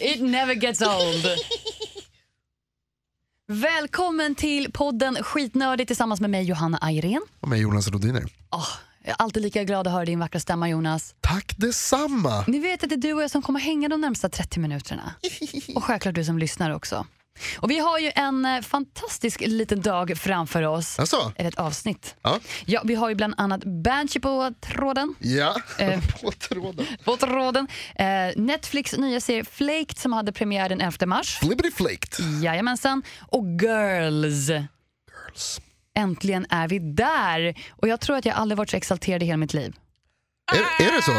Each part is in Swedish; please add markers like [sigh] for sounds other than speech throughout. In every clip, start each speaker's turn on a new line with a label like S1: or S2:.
S1: It never gets old. Välkommen till podden Skitnördig tillsammans med mig Johanna Ayrén.
S2: Och mig Jonas Rodiner.
S1: Åh, jag är alltid lika glad att höra din vackra stämma Jonas.
S2: Tack detsamma!
S1: Ni vet att det är du och jag som kommer hänga de närmsta 30 minuterna. Och självklart du som lyssnar också. Och vi har ju en eh, fantastisk liten dag framför oss.
S2: Alltså,
S1: Eller ett avsnitt.
S2: Ja.
S1: Ja, vi har ju bland annat Banshee på tråden.
S2: ja.
S1: Eh.
S2: På tråden.
S1: På tråden. Eh, Netflix nya serie Flaked som hade premiär den 11 mars.
S2: Flibbity flaked.
S1: Jajamensan. Och Girls. Äntligen är vi där. Och jag tror att jag aldrig varit så exalterad i hela mitt liv.
S2: Är, är det så?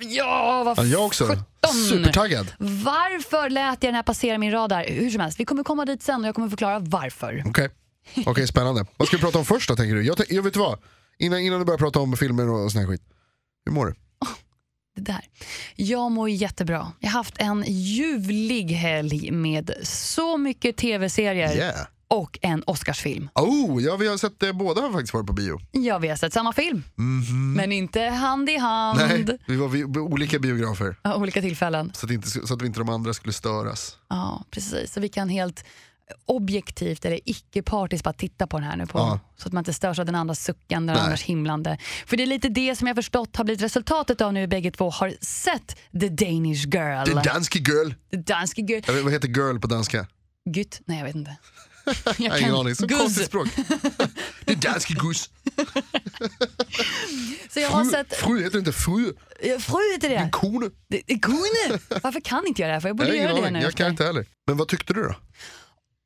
S1: Ja, vad
S2: Ja, jag också.
S1: sjutton.
S2: Supertaggad.
S1: Varför lät jag den här passera min radar? Hur som helst, vi kommer komma dit sen och jag kommer förklara varför.
S2: Okej, Okej, spännande. Vad ska vi prata om först då tänker du? Jag, tän- jag vet du vad? Innan, innan du börjar prata om filmer och sån här skit. Hur mår du?
S1: Det där. Jag mår jättebra. Jag har haft en ljuvlig helg med så mycket tv-serier
S2: Yeah.
S1: och en Oscarsfilm.
S2: Oh, ja, vi har sett eh, båda har faktiskt varit på bio.
S1: Ja, vi har sett samma film, men inte hand i hand.
S2: Mhm. Nej, vi var vid olika biografer
S1: Ja, Olika tillfällen.
S2: så att, inte, så att vi inte de andra skulle störas.
S1: Ja, precis. Så vi kan helt objektivt eller icke-partiskt bara titta på den här nu på,
S2: Ja.
S1: så att man inte störs av den andras suckande och
S2: Nej.
S1: andras himlande. För det är lite det som jag förstått har blivit resultatet av nu bägge två har sett The Danish Girl.
S2: Det är danske girl.
S1: The Danske Girl.
S2: Eller vad heter girl på danska?
S1: Gutt? Nej, jag vet
S2: [laughs]
S1: inte.
S2: Jag har
S1: kan-
S2: ingen aning. Så
S1: Guzz. [laughs]
S2: konstigt språk. Det är danske gus.
S1: Så jag har
S2: Fru,
S1: sett...
S2: fru heter inte fru,
S1: Eh, Fru heter det!
S2: kone.
S1: Det- det- Kone!
S2: [laughs]
S1: Varför kan inte jag det här? För jag
S2: Jag,
S1: borde
S2: har ingen
S1: göra det
S2: aning.
S1: nu.
S2: jag kan inte heller. Men vad tyckte du då?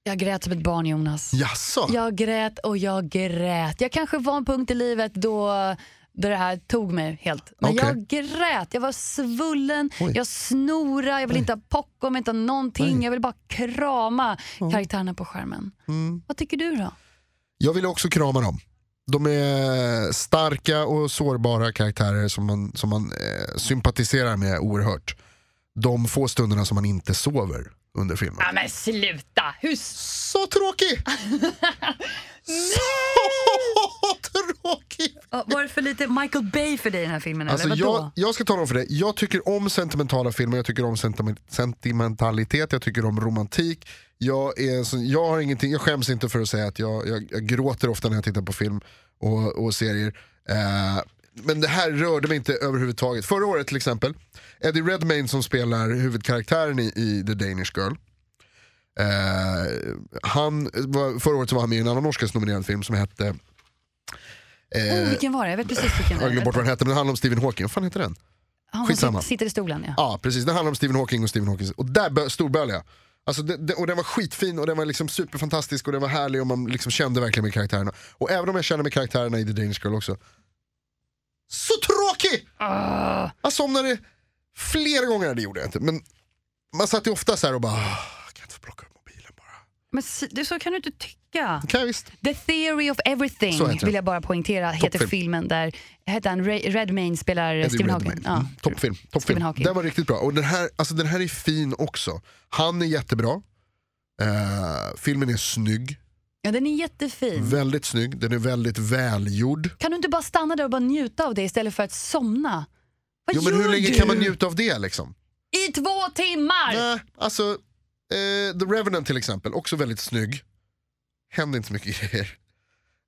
S1: jag grät som ett barn, Jonas.
S2: Jaså?
S1: Jag grät och jag grät. Jag kanske var en punkt i livet då då det här tog mig helt. Men
S2: Okej.
S1: jag grät, jag var svullen,
S2: Oj.
S1: jag snorade, jag ville inte ha popcorn, inte ha någonting. Jag ville bara krama karaktärerna på skärmen.
S2: Mm.
S1: Vad tycker du då?
S2: Jag ville också krama dem. De är starka och sårbara karaktärer som man, som man eh, sympatiserar med oerhört. De få stunderna som man inte sover under filmen.
S1: Ja, men sluta! Hur [laughs]
S2: Så tråkig! Så tråkig!
S1: var det för lite Michael Bay för dig i den här filmen?
S2: Alltså
S1: eller?
S2: jag, jag ska tala om för dig, jag tycker om sentimentala filmer, jag tycker om sentim- sentimentalitet, jag tycker om romantik. Jag, är, en sån- jag, har ingenting, jag skäms inte för att säga att jag, jag, jag gråter ofta när jag tittar på film och, och serier. Eh, men det här rörde mig inte överhuvudtaget. Förra året till exempel, Eddie Redmayne som spelar huvudkaraktären i, i The Danish Girl. Eh, han, var- förra året så var han med i en annan norskens nominerad film som hette eh,
S1: oh, vilken var det? Jag vet precis vilken
S2: jag har glömt bort vad den hette, men den handlar om Stephen Hawking. Vad fan heter den?
S1: Han
S2: Skitsamma.
S1: sitter, sitter i stolen ja.
S2: Ja, precis. Den handlar om Stephen Hawking och Stephen Hawking. Och där bö- storbölade jag. Alltså, det, det, och den var skitfin och den var liksom superfantastisk och den var härlig och man liksom kände verkligen med karaktärerna. Och även om jag känner med karaktärerna i The Danish Girl också. Så tråkig!
S1: Ah,
S2: Jag somnade flera gånger, det gjorde jag inte. Men man satt ju ofta så här och bara, "Ah, kan jag inte få plocka upp mobilen bara?
S1: men s- det- så kan du inte tycka.
S2: Kan jag visst.
S1: The Theory of Everything
S2: Så heter den.
S1: vill jag bara poängtera heter
S2: Toppfilm.
S1: filmen där heter han Ray- Redmayne spelar Stephen Hawking.
S2: Redmayne.
S1: Ja.
S2: Mm, toppfilm. toppfilm.
S1: Stephen Hawking.
S2: Den var riktigt bra. Och den här, alltså den här är fin också. Han är jättebra. Eh, filmen är snygg.
S1: ja, den är jättefin.
S2: Väldigt snygg. Den är väldigt välgjord.
S1: Kan du inte bara stanna där och bara njuta av det istället för att somna? Vad
S2: Jo, men
S1: gör
S2: hur länge
S1: du?
S2: kan man njuta av det liksom?
S1: I två timmar!
S2: Nej, alltså, eh, The Revenant till exempel, också väldigt snygg. Händer inte så mycket grejer.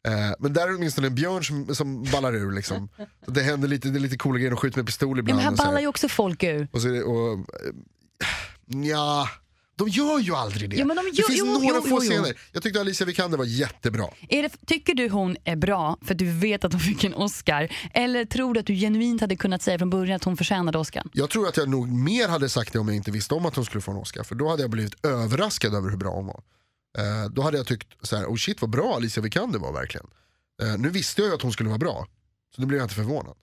S2: Eh, men där är det åtminstone en björn som, som ballar ur liksom. Så det händer lite, det är lite coola grejer, de skjuter med pistol
S1: Ja,
S2: ibland.
S1: men här
S2: och så här.
S1: ballar ju också folk ur.
S2: Och så är det, och, ja, de gör ju aldrig det.
S1: Ja, men de
S2: det
S1: gör-
S2: finns
S1: jo,
S2: några
S1: jo,
S2: få
S1: jo, jo.
S2: scener. Jag tyckte Alicia Vikander var jättebra.
S1: Är det, tycker du hon är bra för att du vet att hon fick en Oscar? Eller tror du att du genuint hade kunnat säga från början att hon förtjänade Oscar?
S2: Jag tror att jag nog mer hade sagt det om jag inte visste om att hon skulle få en Oscar. För då hade jag blivit överraskad över hur bra hon var. Eh, då hade jag tyckt så här, oh shit vad bra Alicia Vikander var verkligen. Eh, nu visste jag ju att hon skulle vara bra. Så nu blev jag inte förvånad.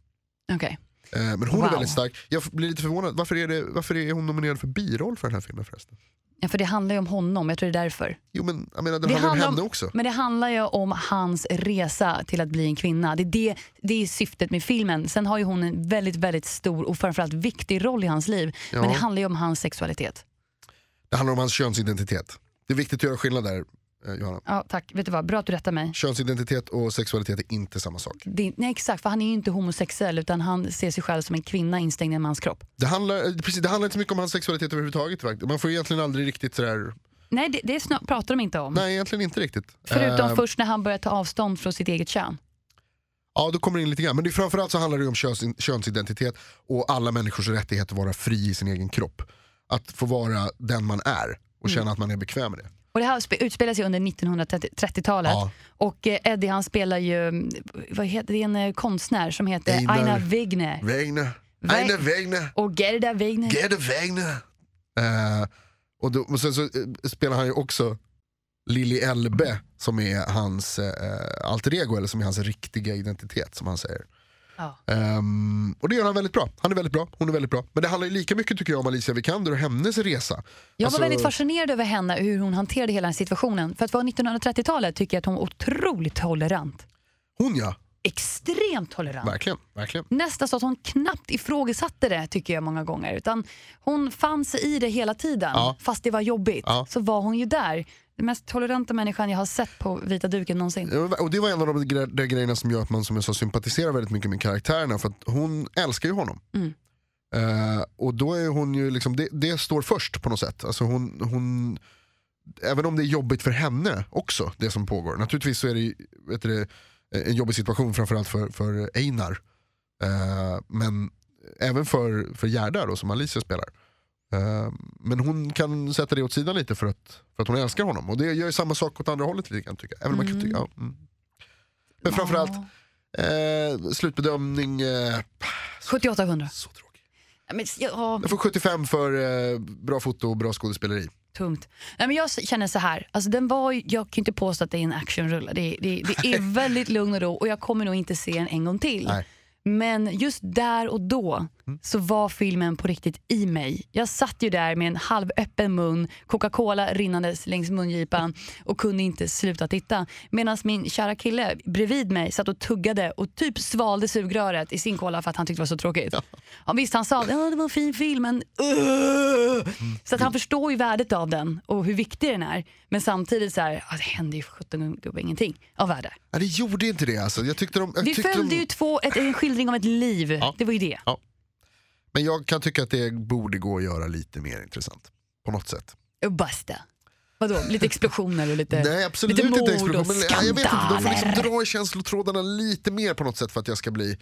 S1: Okej.
S2: Eh, Men hon
S1: Wow.
S2: är väldigt stark. Jag blir lite förvånad, varför är, det, varför är hon nominerad för biroll för den här filmen förresten?
S1: Ja, för det handlar ju om honom, jag tror det är därför.
S2: Jo men jag menar, den
S1: Det
S2: handlar om
S1: handlar
S2: henne
S1: om-
S2: också.
S1: Men det handlar ju om hans resa till att bli en kvinna. Det är, det, det är syftet med filmen. Sen har ju hon en väldigt, väldigt stor och framförallt viktig roll i hans liv.
S2: Ja.
S1: Men det handlar ju om hans sexualitet.
S2: Det handlar om hans könsidentitet. Det är viktigt att göra skillnad där eh, Johanna.
S1: Ja, tack. Vet du vad? Bra att du rättar mig.
S2: Könsidentitet och sexualitet är inte samma sak.
S1: Det, är- nej, exakt. För han är ju inte homosexuell utan han ser sig själv som en kvinna instängd i en mans kropp.
S2: Det handlar, eh, precis, det handlar inte så mycket om hans sexualitet överhuvudtaget. faktiskt. Man får egentligen aldrig riktigt sådär,
S1: Nej, det, det snö- pratar de inte om.
S2: nej egentligen inte riktigt.
S1: Förutom
S2: Eh,
S1: först när han börjar ta avstånd från sitt eget kön.
S2: Ja, då kommer det in lite grann. Men det, är framförallt så handlar det ju om köns, könsidentitet och alla människors rättighet att vara fri i sin egen kropp. Att få vara den man är och känna att man är bekväm med det.
S1: Och det här spe- utspelar sig under 1930-talet.
S2: Ja.
S1: Och eh, Eddie han spelar ju, mm, vad heter, det är en eh, konstnär som heter
S2: Einar-
S1: Einar Wegner.
S2: Vägne,
S1: Väg-
S2: eine Vägne,
S1: Och Gerda Wegner.
S2: gerde Vägne. Eh, och, då, och sen så eh, spelar han ju också Lili Elbe som är hans eh, alter ego, eller som är hans riktiga identitet som han säger.
S1: Ja.
S2: Ehm, och det gör han väldigt bra. Han är väldigt bra, hon är väldigt bra. Men det handlar ju lika mycket tycker jag om Alicia Vikander och hennes resa.
S1: Jag
S2: Alltså-
S1: var väldigt fascinerad över henne, hur hon hanterade hela den här situationen. För att vara 1930-talet tycker jag att hon var otroligt tolerant.
S2: Hon ja,
S1: Extremt tolerant.
S2: verkligen. verkligen.
S1: Nästan så att hon knappt ifrågasatte det tycker jag många gånger. Utan hon fann sig i det hela tiden.
S2: Ja.
S1: Fast det var jobbigt
S2: Ja.
S1: så var hon ju där. Den mest toleranta människan jag har sett på vita duken någonsin.
S2: Ja, Och det var en av de gre- där grejerna som gör att man som jag sa sympatiserar väldigt mycket med karaktärerna för att hon älskar ju honom.
S1: Mm.
S2: Eh, och då är hon ju liksom, det, det står först på något sätt. Alltså hon, hon, även om det är jobbigt för henne också, det som pågår. Naturligtvis så är det, ju, vet du, det, en jobbig situation framförallt för, för Einar. Eh, men även för, för Gerda då, som Alicia spelar. Eh, Men hon kan sätta det åt sidan lite för att, för att hon älskar honom. Och det gör ju samma sak åt andra hållet lite grann tycker jag. Även om man kan tycka, ja, mm. Men framförallt, eh, slutbedömning, eh,
S1: 7800.
S2: så tråkig.
S1: Ja, men, ja,
S2: Jag får 75 för eh, bra foto och bra skådespeleri.
S1: tungt. Nej, men jag känner så här, alltså, den var, ju- jag kan inte påstå att det är en actionrulle. Det, det, det är väldigt lugn och ro och jag kommer nog inte se den en gång till.
S2: Nej.
S1: Men just där och då så var filmen på riktigt i mig. Jag satt ju där med en halvöppen mun, Coca-Cola rinnandes längs mungipan och kunde inte sluta titta. Medan min kära kille bredvid mig satt och tuggade och typ svalde sugröret i sin cola för att han tyckte det var så tråkigt. Ja, visst, han sa att det var en fin film, men "Ugh." Så att han förstår ju värdet av den och hur viktig den är. Men samtidigt så här, ja, det hände ju för sjutton gubbe ingenting av värde.
S2: Nej, det gjorde inte det alltså. Jag tyckte de, jag
S1: Vi
S2: tyckte
S1: följde
S2: de,
S1: ju två, ett, en skildring om ett liv.
S2: Ja.
S1: Det var ju det.
S2: Men jag kan tycka att det borde gå att göra lite mer intressant. På något sätt.
S1: Och basta. Vadå, lite explosioner och lite
S2: Nej absolut
S1: lite
S2: inte
S1: mord
S2: explosion.
S1: och
S2: Men, nej, jag vet inte, de får liksom
S1: skandaler.
S2: dra i känslotrådarna lite mer på något sätt för att jag ska bli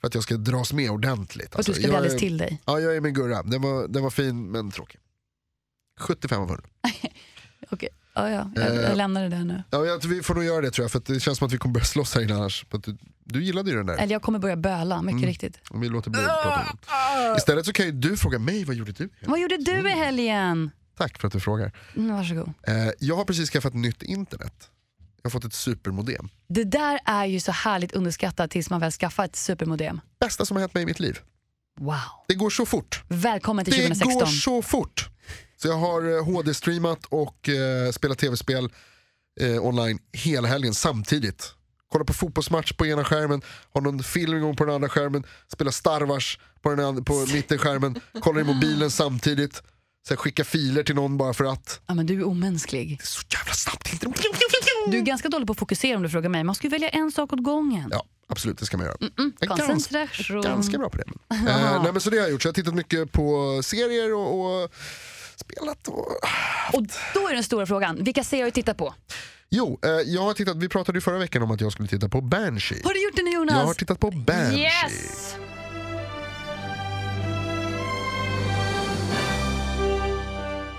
S2: för att jag ska dras med ordentligt. alltså.
S1: och att du ska bli
S2: jag,
S1: alldeles
S2: är-
S1: till dig.
S2: Ja, jag är med Gurra. Den var, den var fin men tråkig. 75 av 100.
S1: Okej, ja, ja, jag,
S2: Eh.
S1: jag lämnar det där nu.
S2: Ja, jag, vi får nog göra det tror jag för att det känns som att vi kommer börja slåss här inne annars. För att du, du gillade ju den där.
S1: Eller jag kommer börja böla, mycket
S2: Mm.
S1: riktigt.
S2: Om vi låter bli att prata om
S1: Ah!
S2: den. Istället så kan ju du fråga mig, vad gjorde du?
S1: Vad gjorde du i helgen?
S2: Tack för att du frågar.
S1: Mm, varsågod.
S2: Eh, jag har precis skaffat nytt internet. Jag har fått ett supermodem.
S1: Det där är ju så härligt underskattat tills man väl skaffar ett supermodem.
S2: Bästa som har hänt mig i mitt liv.
S1: Wow.
S2: Det går så fort.
S1: Välkommen till
S2: Det
S1: 2016.
S2: går så fort. Så jag har eh, HD-streamat och eh, spelat tv-spel eh, online hela helgen samtidigt. Kollar på fotbollsmatch på ena skärmen, har någon film igång på den andra skärmen, spelar Star Wars på, den
S1: [laughs]
S2: and- på mittenskärmen, kollar i mobilen samtidigt, sen skickar filer till någon bara för att.
S1: Ja, men du är omänsklig.
S2: Det är så jävla snabbt.
S1: Du är ganska dålig på att fokusera om du frågar mig. Man ska ju välja en sak åt gången.
S2: Mm. Ja, absolut det ska man göra. Jag är ganska-
S1: Mm, Koncentration.
S2: Ganska bra på det.
S1: [laughs]
S2: Eh, nej, men så det har jag gjort. Så jag har tittat mycket på serier och, och spelat och
S1: Och då är den stora frågan, vilka serier har du tittat på?
S2: Jo, eh, jag har tittat, vi pratade ju förra veckan om att jag skulle titta på Banshee.
S1: Har du gjort det nu Jonas?
S2: Jag har tittat på Banshee.
S1: Yes!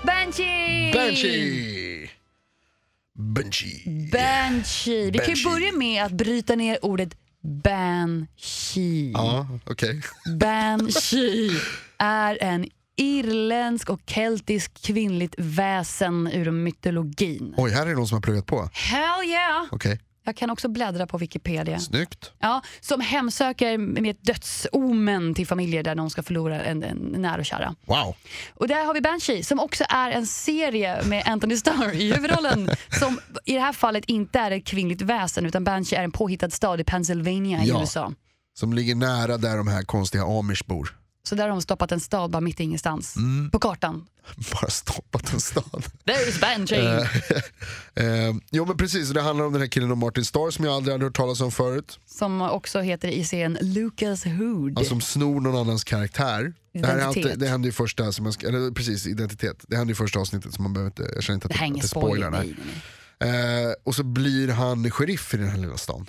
S1: Banshee!
S2: Banshee! Banshee.
S1: Banshee. Vi kan ju
S2: Banshee.
S1: börja med att bryta ner ordet banshee.
S2: Ja, okej.
S1: Banshee är en irländsk och keltisk kvinnligt väsen ur mytologin.
S2: Oj, här är det någon som har pluggat på.
S1: Hell yeah!
S2: Okej.
S1: Jag kan också bläddra på Wikipedia.
S2: Snyggt.
S1: Ja, som hemsöker med ett dödsomen till familjer där någon ska förlora en, en nära och kära.
S2: Wow.
S1: Och där har vi Banshee som också är en serie med Anthony Starr i
S2: [laughs]
S1: huvudrollen. som i det här fallet inte är ett kvinnligt väsen utan Banshee är en påhittad stad i Pennsylvania i
S2: Ja.
S1: USA.
S2: Som ligger nära där de här konstiga amish bor.
S1: Så där har de stoppat en stad bara mitt i ingenstans
S2: Mm.
S1: på kartan.
S2: [laughs] Bara stoppat en stad. [laughs]
S1: There's Banshee!
S2: Eh, jo men precis, det handlar om den här killen och Martin Starr som jag aldrig hade hört talas om förut.
S1: som också heter i serien Lucas Hood.
S2: Alltså, som snor någon annans karaktär. Det, här är alltid,
S1: Identitet.
S2: det händer ju första, som jag, ska- eller precis identitet. Det händer ju första avsnittet så man behöver inte, jag känner inte att
S1: det här är ingen
S2: inte
S1: spoiler.
S2: nej.
S1: Nej. nej, nej.
S2: Eh, och så blir han sheriff i den här lilla stan.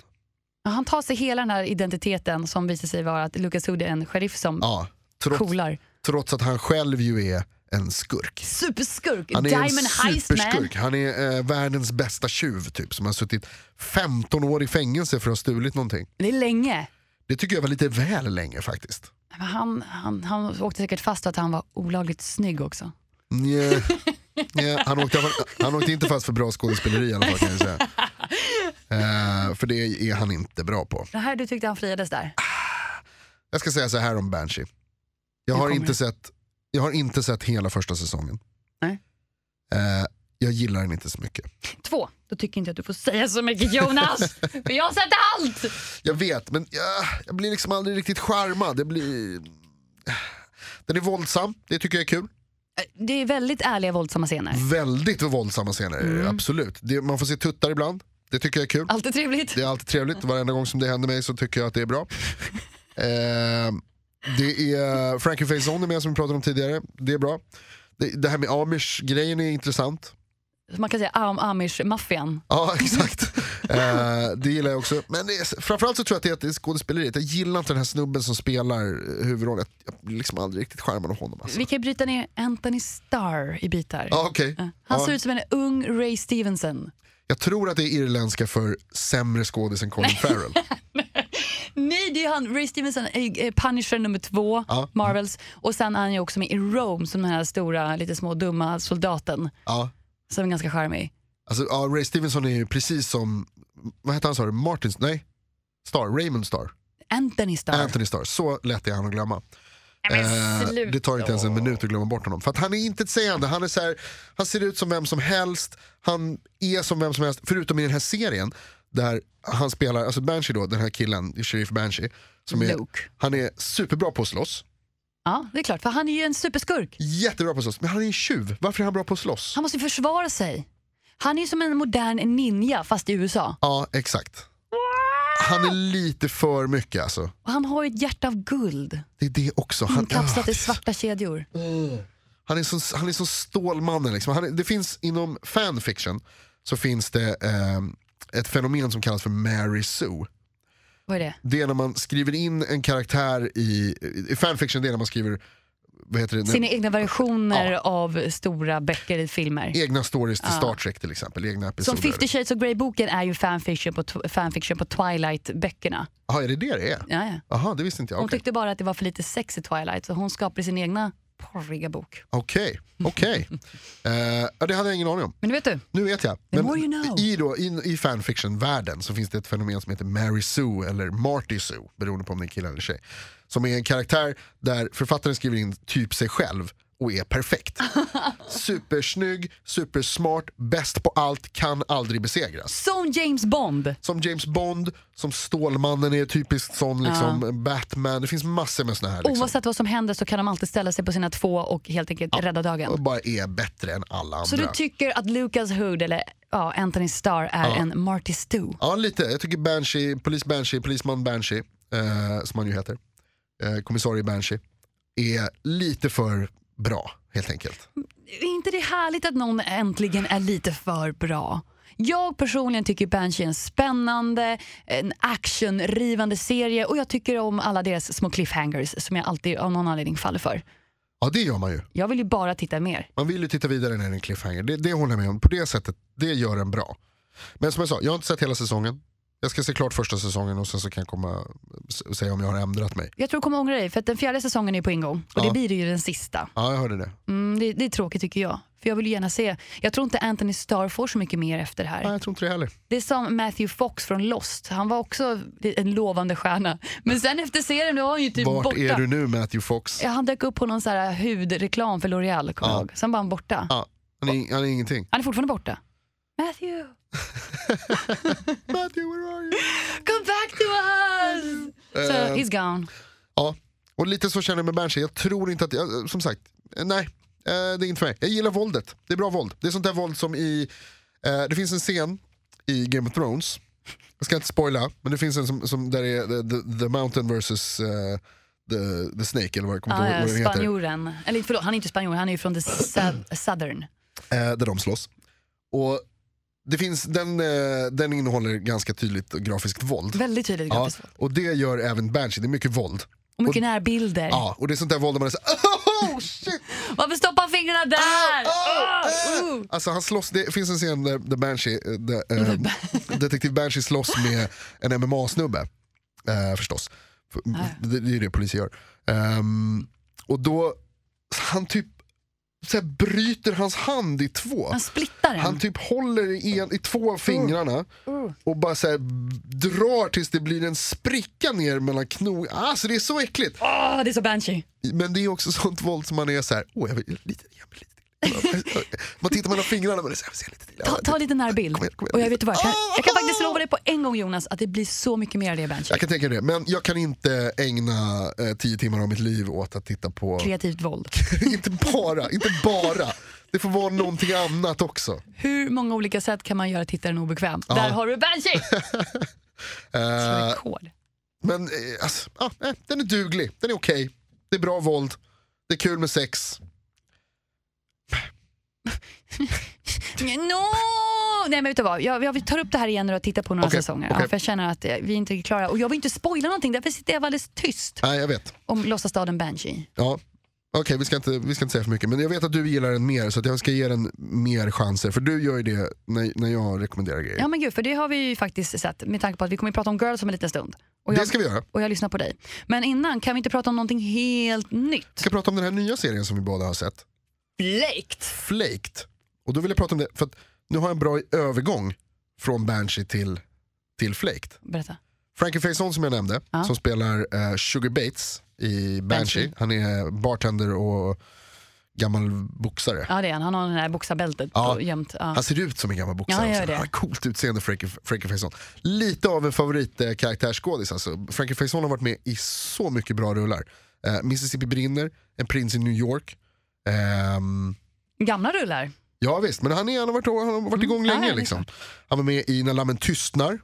S1: Ja, Han tar sig hela den här identiteten som visar sig vara att Lucas Hood är en sheriff som
S2: Ja, trots,
S1: coolar.
S2: trots att han själv ju är en skurk.
S1: Superskurk!
S2: Han är
S1: Diamond
S2: en
S1: Heistman!
S2: superskurk. Han är eh, världens bästa tjuv typ som har suttit 15 år i fängelse för att ha stulit någonting.
S1: Det är länge.
S2: Det tycker jag var lite väl länge faktiskt.
S1: Men Han, han, han åkte säkert fast för att han var olagligt snygg också.
S2: Nja. Nja, han, åkte, han åkte inte fast för bra skådespeleri i alla fall kan jag säga. Eh, för det är han inte bra på.
S1: Det här du tyckte han friades där.
S2: Jag ska säga så här om Banshee.
S1: Nu
S2: Jag har,
S1: kommer
S2: inte
S1: det.
S2: sett, jag har inte sett hela första säsongen.
S1: Nej.
S2: Eh, jag gillar den inte så mycket.
S1: Två, då tycker inte jag att du får säga så mycket
S2: [laughs]
S1: Jonas. för jag har sett allt!
S2: Jag vet, men jag, jag blir liksom aldrig riktigt charmad. Det blir... Den är våldsam, det tycker jag är kul.
S1: Det är väldigt ärliga våldsamma scener.
S2: Mm. Väldigt våldsamma scener,
S1: Mm.
S2: absolut. Det, man får se tuttar ibland, det tycker jag är kul.
S1: Alltid trevligt.
S2: Det är alltid trevligt, varenda gång som det händer mig så tycker jag att det är bra. eh, det är Frankie Faison är med som vi pratade om tidigare, det är bra. Det, det här med Amish-grejen är intressant.
S1: Man kan säga am amish-maffian.
S2: Ja, [laughs] exakt. eh, det gillar jag också. Men det är, framförallt så tror jag att det är, att det är skådespeleriet. Jag gillar inte den här snubben som spelar eh, huvudrollen. Jag blir liksom aldrig riktigt charmad av honom. Alltså.
S1: Vi kan ju bryta ner Anthony Starr i bitar.
S2: Ja, okej.
S1: Han
S2: Ja.
S1: ser ut som en ung Ray Stevenson.
S2: Jag tror att det är irländska för sämre skådis
S1: [laughs]
S2: än Colin Farrell.
S1: Nej, det är han. Ray Stevenson är är Punisher nummer två,
S2: Ja.
S1: Marvels. Och sen är han ju också med i Rome som den här stora, lite små dumma soldaten
S2: Ja.
S1: som är ganska charmig.
S2: Alltså, ja, Ray Stevenson är ju precis som, vad hette han sa du, Martin, nej, Star, Raymond Star,
S1: Anthony Starr.
S2: Anthony Star. Så lätt är han att glömma. Eh,
S1: sluta.
S2: det tar inte ens en minut att glömma bort honom. För att han är inte ett sägande, han, är så här, han ser ut som vem som helst, han är som vem som helst, förutom i den här serien där han spelar, alltså Banshee då, den här killen, Sheriff Banshee, som är,
S1: Luke.
S2: han är superbra på att slåss,
S1: Ja, det är klart. För han är ju en superskurk.
S2: jättebra på att slåss, men han är en tjuv. Varför är han bra på att slåss?
S1: Han måste ju försvara sig. Han är ju som en modern ninja fast i USA.
S2: Ja, exakt. Han är lite för mycket alltså.
S1: Och han har ju ett hjärta av guld.
S2: Det är det också. Han, ah,
S1: Inkapslat Mm, i svarta kedjor.
S2: han är som, han är som Stålmannen. Liksom. Han är, det finns inom fanfiction så finns det ehm, ett fenomen som kallas för Mary Sue.
S1: Vad är det?
S2: Det är när man skriver in en karaktär i, i fanfiction, det är när man skriver vad heter det,
S1: Sina egna versioner av stora böcker i filmer.
S2: egna stories till Star Trek till exempel. Egna
S1: Som
S2: episoder.
S1: 50 shades of Grey-boken är ju fanfiction på, tw- fanfiction på Twilight-böckerna.
S2: Aha, är det det det är?
S1: Ja, ja.
S2: Aha, det visste inte jag.
S1: Hon
S2: Okej,
S1: tyckte bara att det var för lite sex i Twilight så hon skapade sin egna porriga bok.
S2: okej. okej.
S1: [laughs]
S2: Eh, ja, det hade jag ingen aning om.
S1: Men vet du,
S2: Nu vet jag.
S1: more you know.
S2: i, då, i, i fanfiction-världen så finns det ett fenomen som heter Mary Sue eller Marty Sue, beroende på om det är kille eller tjej. Som är en karaktär där författaren skriver in typ sig själv och är perfekt.
S1: [laughs]
S2: Supersnygg, supersmart, bäst på allt, kan aldrig besegras.
S1: som James Bond!
S2: Som James Bond, som Stålmannen är typiskt sån, liksom, Batman, det finns massor med såna här. Liksom,
S1: Oavsett vad som händer så kan de alltid ställa sig på sina två och helt enkelt rädda dagen.
S2: och bara är bättre än alla andra.
S1: Så du tycker att Lucas Hood, eller ja, Anthony Starr, är en Marty Stew?
S2: Ja, lite. Jag tycker Banshee, polis Banshee, polisman Banshee, eh, som han ju heter, eh, kommissarie Banshee, är lite för bra helt enkelt.
S1: Är inte det härligt att någon äntligen är lite för bra? Jag personligen tycker Banshee är en spännande, en actionrivande serie och jag tycker om alla deras små cliffhangers som jag alltid av någon anledning faller för.
S2: Ja, det gör man ju.
S1: Jag vill ju bara titta mer.
S2: Man vill ju titta vidare när det är en cliffhanger. Det, det håller jag med om. På det sättet, det gör den bra. Men som jag sa, jag har inte sett hela säsongen. Jag ska se klart första säsongen och sen så kan jag komma och säga om jag har ändrat mig.
S1: Jag tror du kommer ångra dig för att den fjärde säsongen är på ingång och
S2: Ja.
S1: det blir ju den sista.
S2: Ja, jag hörde det.
S1: Mm, det, det är tråkigt tycker jag. För jag vill ju gärna se. Jag tror inte Anthony Starr får så mycket mer efter det här.
S2: Nej, jag tror inte det heller.
S1: Det är som Matthew Fox från Lost. Han var också en lovande stjärna. Men sen efter serien då var han ju typ
S2: Vart
S1: borta.
S2: är du nu Matthew Fox?
S1: Ja, han dök upp på någon så här hudreklam för L'Oreal, kommer jag ihåg. Sen var han borta.
S2: Ja, han, är, han är ingenting.
S1: Han är fortfarande borta. Matthew,
S2: Matthew, where are you?
S1: come back to us! So,
S2: Eh,
S1: he's gone.
S2: Ja, och lite så känner jag med Berntsen. Jag tror inte att, jag, som sagt, eh, nej. eh, Det är inte för mig. Jag gillar våldet. Det är bra våld. Det är sånt där våld som i, eh, det finns en scen i Game of Thrones, jag ska inte spoila, men det finns en som, som där är the, the, the Mountain versus eh, the, the Snake eller vad, jag kommer inte
S1: Ah, ja,
S2: ihåg vad den heter.
S1: spanjoren. Eller förlåt, han är inte spanjor, han är ju från the sou- southern.
S2: eh, där de slåss. Och det finns, den, eh, den innehåller ganska tydligt och grafiskt våld.
S1: Väldigt tydligt
S2: Ja,
S1: grafiskt.
S2: och det gör även Banshee, det är mycket våld.
S1: Och mycket närbilder.
S2: Ja, och det är sånt där våld där man är såhär, [laughs] oh shit!
S1: Varför stoppar han fingrarna där?
S2: Ah, Au,
S1: Oh,
S2: au,
S1: oh.
S2: äh. Alltså han slåss, det finns en scen där, där Banshee, eh,
S1: [laughs]
S2: där, eh, detektiv Banshee slåss med en MMA-snubbe. Eh, förstås. För-
S1: Ah,
S2: Det, det är ju det polisen gör. Ehm, och då, han typ så här, bryter hans hand i två.
S1: Han splittar den.
S2: Han typ håller i, en, i två av fingrarna och bara så här, drar tills det blir en spricka ner mellan knogarna. Alltså det är så äckligt.
S1: Åh, Ah, det är så Banshee.
S2: Men det är också sånt våld som man är så här, åh jag vill lite, jag vill lite till. Man tittar mellan fingrarna och är så här, jag vill se lite till.
S1: Ta, ta en liten närbild.
S2: Kom igen, kom igen. Ah.
S1: Och jag, vet du vad, jag, kan, jag kan faktiskt lova dig på en gång Jonas att det blir så mycket mer av det Banshee.
S2: Jag kan tänka det, men jag kan inte ägna eh, tio timmar av mitt liv åt att titta på,
S1: Kreativt våld.
S2: [laughs] inte bara, inte bara. Det får vara någonting annat också.
S1: Hur många olika sätt kan man göra tittaren obekväm?
S2: Ah.
S1: Där har du
S2: [laughs]
S1: Banshee! Slå
S2: Eh,
S1: rekord.
S2: men eh, alltså, ja, eh, den är duglig, den är okej, det är bra våld, det är kul med sex.
S1: No! Nej men vet du vad, jag, jag tar upp det här igen när du har tittat på några
S2: Okej,
S1: säsonger. Ja,
S2: okej.
S1: för jag känner att eh, vi inte är klara. Och jag vill inte spoila någonting, därför sitter jag alldeles tyst
S2: Nej jag vet.
S1: om låtsasstaden Banshee.
S2: Ja. Okej, vi, ska inte- vi ska inte säga för mycket. Men jag vet att du gillar den mer, så att jag ska ge den mer chanser. För du gör ju det när, när jag rekommenderar grejer.
S1: Ja men gud, för det har vi ju faktiskt sett med tanke på att vi kommer att prata om Girls om en liten stund. Och
S2: Det
S1: jag,
S2: ska vi göra.
S1: och jag lyssnar på dig. Men innan, kan vi inte prata om någonting helt nytt?
S2: Vi ska prata om den här nya serien som vi båda har sett.
S1: Blaked!
S2: Flaked. Och då vill jag prata om det, för att nu har jag en bra övergång från Banshee till, till Flaked.
S1: Berätta.
S2: Frankie Faison som jag nämnde,
S1: Ja.
S2: som spelar eh, Sugar Bates i Banshee.
S1: Banshee.
S2: Han är bartender och gammal boxare.
S1: Ja det är han, han har den här boxarbältet
S2: Ja.
S1: och gömt. Ja.
S2: Han ser ut som en gammal
S1: Ja,
S2: boxare.
S1: han gör
S2: också.
S1: det.
S2: han har coolt utseende, Frankie, Frankie Faison. Lite av en favoritkaraktärsskådis. Alltså. Frankie Faison har varit med i så mycket bra rullar. Eh, Mississippi brinner, En prins i New York. Ehm,
S1: Gamla rullar.
S2: ja visst, men han, är, han, har, varit, han har varit igång
S1: Ja,
S2: länge.
S1: ja, det är
S2: liksom. Han var med i När lammen tystnar,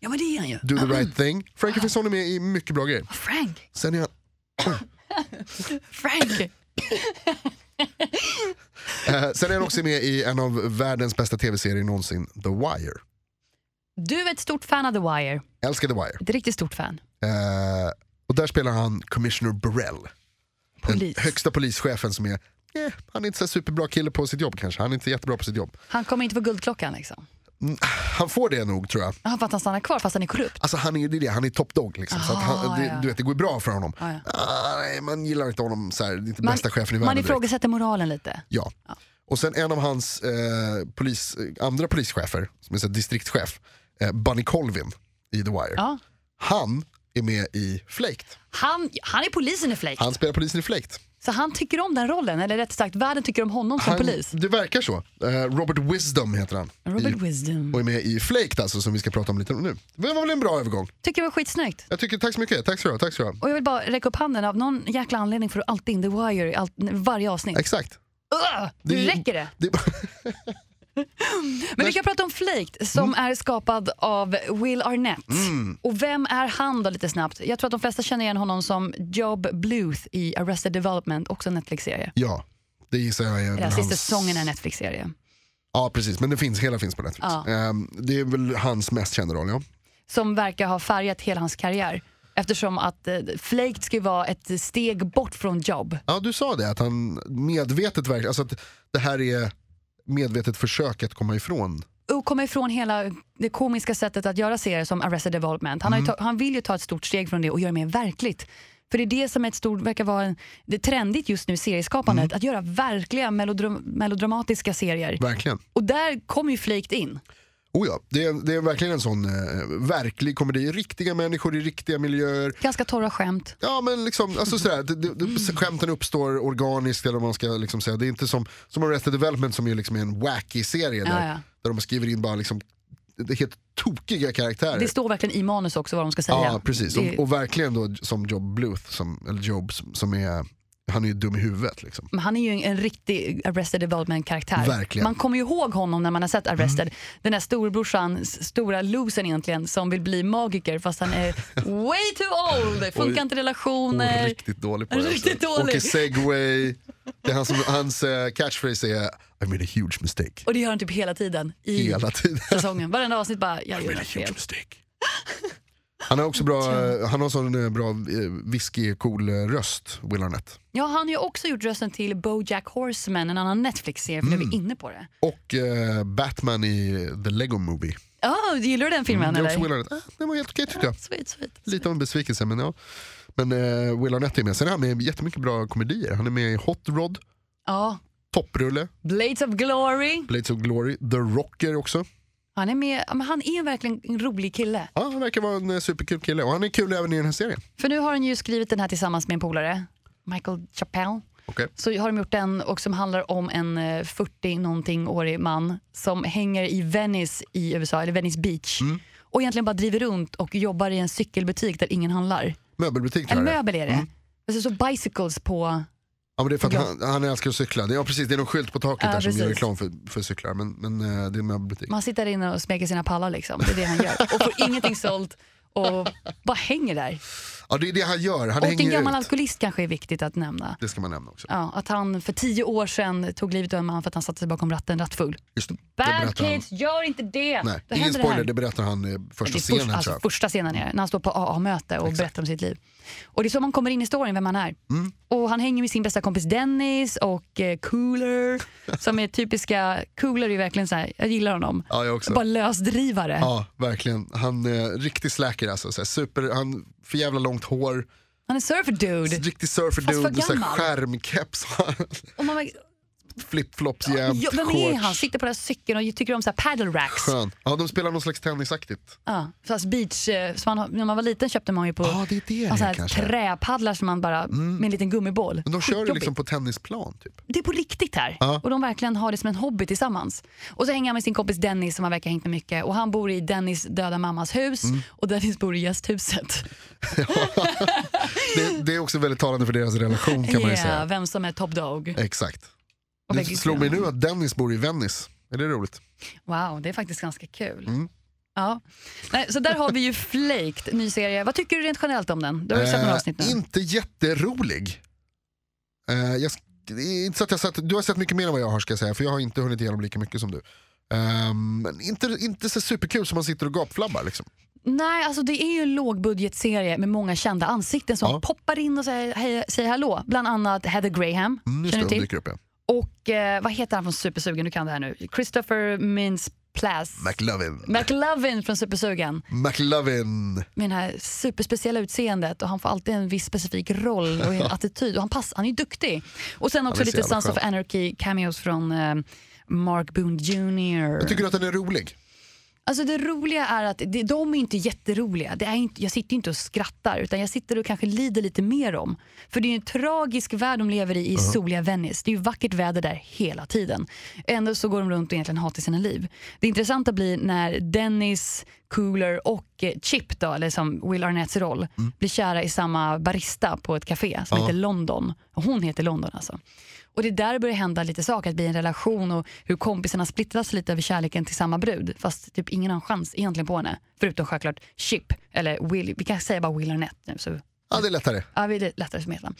S1: Ja men det är han ju.
S2: Do the right thing. Frankie Faison är med i mycket bra grejer.
S1: Frank!
S2: Sen är han,
S1: Frank!
S2: eh, sen är han också med i en av världens bästa tv-serier någonsin, The Wire.
S1: Du är ett stort fan av The Wire.
S2: Älskar The Wire.
S1: Ett riktigt stort fan.
S2: Eh, och där spelar han Commissioner Burrell.
S1: Polis.
S2: Den högsta polischefen som är, eh, han är inte så superbra kille på sitt jobb kanske. Han är inte jättebra på sitt jobb.
S1: Han kommer inte få guldklockan liksom.
S2: Han får det nog tror jag.
S1: Ja, för att han stannar kvar fast han är korrupt.
S2: Alltså han är, det är det, han är top dog liksom. så att han, det, du vet, det går ju bra för honom.
S1: Ah, Ja, ja.
S2: Ah, nej, man gillar inte honom så här, det är inte bästa chefen i
S1: man
S2: världen. direkt.
S1: ifrågasätter moralen lite.
S2: Ja. Och sen en av hans eh, polis, eh, andra polischefer, som är så här, distriktschef, eh, Bunny Colvin i The Wire.
S1: Ja.
S2: Han är med i Flaked.
S1: Han, han är polisen i Flake.
S2: Han spelar polisen i Flaked.
S1: Så han tycker om den rollen, eller rätt sagt världen tycker om honom som
S2: Han-
S1: polis.
S2: Det verkar så. Eh, Robert Wisdom heter han.
S1: Robert
S2: I,
S1: Wisdom.
S2: och är med i Flaked alltså som vi ska prata om lite om nu. Det var väl en bra övergång.
S1: Tycker det var skitsnyggt.
S2: Jag tycker, tack så mycket, tack så du ha, tack så du ha.
S1: Och jag vill bara räcka upp handen, av någon jäkla anledning får du alltid in The Wire i allt, varje avsnitt.
S2: Exakt.
S1: Ugh, nu räcker det.
S2: det
S1: Men vi kan prata om Flaked som
S2: Mm.
S1: är skapad av Will Arnett. Och vem är han då lite snabbt? Jag tror att de flesta känner igen honom som Job Bluth i Arrested Development, också en Netflix-serie.
S2: ja, det gissar jag är väl
S1: Den sista
S2: hans-
S1: säsongen är en Netflix-serie.
S2: Ja precis, men det finns, hela finns på Netflix.
S1: Ja.
S2: Ehm, det är väl hans mest kända roll ja.
S1: som verkar ha färgat hela hans karriär. Eftersom att eh, Flaked ska ju vara ett steg bort från jobb.
S2: Ja du sa det, att han medvetet verkligen, alltså att det här är medvetet försök att komma ifrån.
S1: Och komma ifrån hela det
S2: Mm.
S1: komiska sättet att göra serier som Arrested Development. Han, har ju ta- han vill ju ta ett stort steg från det och göra det mer verkligt. För det är det som är ett stort, verkar vara en, det är trendigt just nu i serieskapandet,
S2: Mm.
S1: att göra verkliga melodram, melodramatiska serier.
S2: Verkligen.
S1: Och där kom ju Flaked in.
S2: Oh ja, det, är, det är verkligen en sån eh, verklig komedi. Riktiga människor i riktiga miljöer.
S1: Ganska torra skämt.
S2: Ja men liksom, alltså sådär, det, det, det, skämten uppstår organiskt eller vad man ska liksom säga. Det är inte som, som Arrested Development som ju liksom är en wacky serie där,
S1: Ja, ja.
S2: där de skriver in bara liksom, det är helt tokiga karaktärer.
S1: Det står verkligen i manus också vad de ska säga.
S2: ja precis,
S1: Det-
S2: och, och verkligen då som Job Bluth, som, eller Job som- som är, han är ju dum i huvudet liksom.
S1: Men han är ju en, en riktig Arrested Development-karaktär.
S2: Verkligen. Mm.
S1: Man kommer ju ihåg honom när man har sett Arrested. Den där storebrorsan, s- stora losern egentligen, som vill bli magiker fast han
S2: [laughs]
S1: är way too old. Funkar
S2: Oj.
S1: inte
S2: Och
S1: relationer.
S2: riktigt dålig på det.
S1: Riktigt
S2: också.
S1: dålig.
S2: Åker segway. Det är han som, hans eh, catchphrase är I made a huge mistake.
S1: Och det gör han typ hela tiden i
S2: Hela tiden.
S1: säsongen. Varenda avsnitt bara, jag gör
S2: Made a
S1: något fel.
S2: huge mistake. Han har också bra, han har sån eh, bra eh, whisky-cool eh, röst, Will Arnett.
S1: Ja, han har ju också gjort rösten till BoJack Horseman, en annan Netflix-serie, för
S2: Mm.
S1: nu är vi inne på det.
S2: Och eh, Batman i The Lego Movie.
S1: Ja, gillar du den filmen
S2: det är också
S1: eller?
S2: Will Arnett. Ah, den var helt okej tyckte jag.
S1: Sweet, sweet.
S2: Lite av en besvikelse men ja. Men eh, Will Arnett är med. Sen är han med i jättemycket bra komedier. Han är med i Hot Rod,
S1: Ja,
S2: Topprulle,
S1: Blades of Glory.
S2: Blades of Glory, The Rocker också.
S1: Han är med, ja, men han är verkligen en rolig kille.
S2: Ja, han verkar vara en eh, superkul kille och han är kul även i den här serien.
S1: För nu har han ju skrivit den här tillsammans med en polare, Michael Chappelle.
S2: Okej.
S1: Så har de gjort den och som handlar om en 40-någonting årig man som hänger i Venice i USA, eller Venice Beach.
S2: Mm.
S1: Och egentligen bara driver runt och jobbar i en cykelbutik där ingen handlar.
S2: Möbelbutik tror
S1: En
S2: jag det Mm. är.
S1: möbel är det. Alltså så bicycles på...
S2: Ja, men det är för att
S1: Glad.
S2: han, han älskar att cykla. Det- Ja precis, det är någon skylt på taket
S1: Ja,
S2: där som gör
S1: precis.
S2: reklam för, för cyklar. Men, men eh, det är en möbelbutik.
S1: Man sitter där inne och smeker sina pallar liksom. Det är det han gör. Och
S2: [laughs]
S1: får ingenting sålt och bara hänger där.
S2: Ja det är det han gör, han
S1: Och en
S2: hänger
S1: gammal
S2: ut.
S1: alkoholist kanske är viktigt att nämna.
S2: Det ska man nämna också.
S1: Ja, att han för tio år sedan tog livet av en man för att han satte sig bakom ratten rattfull.
S2: Just det. Det
S1: Bad
S2: berättar han.
S1: kids, gör inte det!
S2: Nej,
S1: Då
S2: ingen
S1: händer
S2: spoiler, det,
S1: det här.
S2: berättar han eh, första
S1: Det är först-
S2: scenen
S1: alltså,
S2: tror jag.
S1: första scenen är det, när han står på AA-möte och berättar om sitt liv. Och Det är så man kommer in i storyn, vem han är.
S2: Mm.
S1: Och Han hänger med sin bästa kompis Dennis och eh, Cooler, som är typiska... Cooler är ju verkligen så här, jag gillar honom.
S2: Ja, jag också.
S1: Bara lösdrivare. [laughs]
S2: Ja, verkligen. Han är riktig slacker alltså. Så här, super, han för jävla långt hår,
S1: Han är surfer dude.
S2: riktig surfer
S1: Fast för
S2: dude, så här,
S1: gammal.
S2: skärmkeps, [laughs]
S1: Och man, bara,
S2: flipflops jämt,
S1: ja, vem är
S2: shorts.
S1: han? Sitter på den här cykeln och tycker om så här paddle racks.
S2: Skön. Ja, de spelar någon slags tennisaktigt.
S1: Ja, fast beach, eh, som man, när man var liten köpte man ju på
S2: Ja, det är det
S1: Ja, så
S2: det är
S1: här
S2: kanske. Mm.
S1: träpaddlar som man bara, med en liten gummiboll.
S2: Men de kör ju
S1: Skitjobbigt.
S2: liksom på tennisplan typ.
S1: Det är på riktigt här.
S2: Ja.
S1: Och de verkligen har det som en hobby tillsammans. Och så hänger han med sin kompis Dennis som han verkar ha hängt med mycket. Och han bor i Dennis döda mammas hus
S2: Mm.
S1: och Dennis bor i gästhuset.
S2: Det, det är också väldigt talande för deras relation kan man ju
S1: Yeah,
S2: säga.
S1: vem som är top dog.
S2: Exakt.
S1: Och
S2: Det
S1: verkligen-
S2: slog mig nu att Dennis bor i Venice. Är det roligt?
S1: Wow, det är faktiskt ganska kul.
S2: Mm.
S1: Ja. Nej, så där har vi ju Flaked, ny serie. Vad tycker du rent generellt om den? Du har ju sett några
S2: Eh,
S1: avsnitt nu.
S2: inte jätterolig. Eh, jag, sk- det är inte så att jag sett, du har sett mycket mer än vad jag har ska jag säga, för jag har inte hunnit igenom lika mycket som du. Eh, men inte, inte så superkul som man sitter och gapflabbar. Liksom.
S1: Nej, alltså det är ju en lågbudgetserie med många kända ansikten som
S2: Ja.
S1: poppar in och säger, hej, säger hallå. Bland annat Heather Graham,
S2: Mm, just
S1: känner du
S2: det, de
S1: till?
S2: dyker upp igen.
S1: Och eh, vad heter han från Supersugen? Du kan det här nu. Christopher Mintz Plass.
S2: McLovin.
S1: McLovin från Supersugen
S2: McLovin.
S1: med det här superspeciella utseendet och han får alltid en viss specifik roll och
S2: [laughs]
S1: en attityd och han, pass, han är ju duktig. Och sen också
S2: är så
S1: lite
S2: jävla
S1: Sons of
S2: skön.
S1: Anarchy cameos från eh, Mark Boone Jr.
S2: Jag tycker du att den är rolig?
S1: Alltså det roliga är att det, de är inte jätteroliga. Det är inte, jag sitter inte och skrattar utan jag sitter och kanske lider lite mer om. För det är ju en tragisk värld de lever i i soliga Venice. Det är ju vackert väder där hela tiden. Ändå så går de runt och egentligen hatar sina liv. Det intressanta blir när Dennis, Cooler och eh, Chip, då, eller som Will Arnetts roll, blir kära i samma barista på ett café som heter London. Och Hon heter London alltså. Och det är där det börjar hända lite saker, att bli en relation och hur kompisarna splittras lite över kärleken till samma brud. Fast typ ingen har en chans egentligen på henne. Förutom självklart Chip, eller Will, vi kan säga bara Will Arnett nu så
S2: Ja, det är lättare.
S1: ja, det är lättare som heter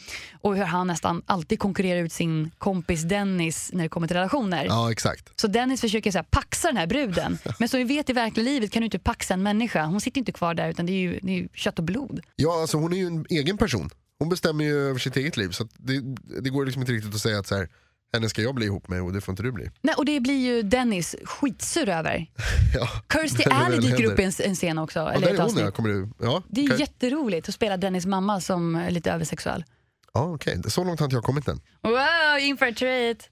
S1: Och hur han nästan alltid konkurrerar ut sin kompis Dennis när det kommer till relationer.
S2: Ja, exakt.
S1: Så Dennis försöker så här, paxa den här
S2: [laughs]
S1: bruden. Men som vi vet i verkliga livet kan du inte paxa en människa. Hon sitter inte kvar där utan det är ju, det är ju kött och blod.
S2: Ja, alltså hon är ju en egen person. Hon bestämmer ju över sitt eget liv. Så att det, det går liksom inte riktigt att säga att så här, Henne ska jag bli ihop med och det får inte du bli.
S1: Nej, och det blir ju Dennis skitsur
S2: [laughs]
S1: över.
S2: Ja.
S1: Kirsty
S2: När det
S1: Alley
S2: väl
S1: dyker
S2: händer.
S1: upp i en, en scen också.
S2: Ja,
S1: eller
S2: där
S1: ett
S2: är hon ja,
S1: avsnitt.
S2: kommer du... Ja,
S1: Det är
S2: okej.
S1: jätteroligt att spela Dennis mamma som är lite översexuell.
S2: ja, okej. Så långt har inte jag kommit än.
S1: Wow, in for a treat!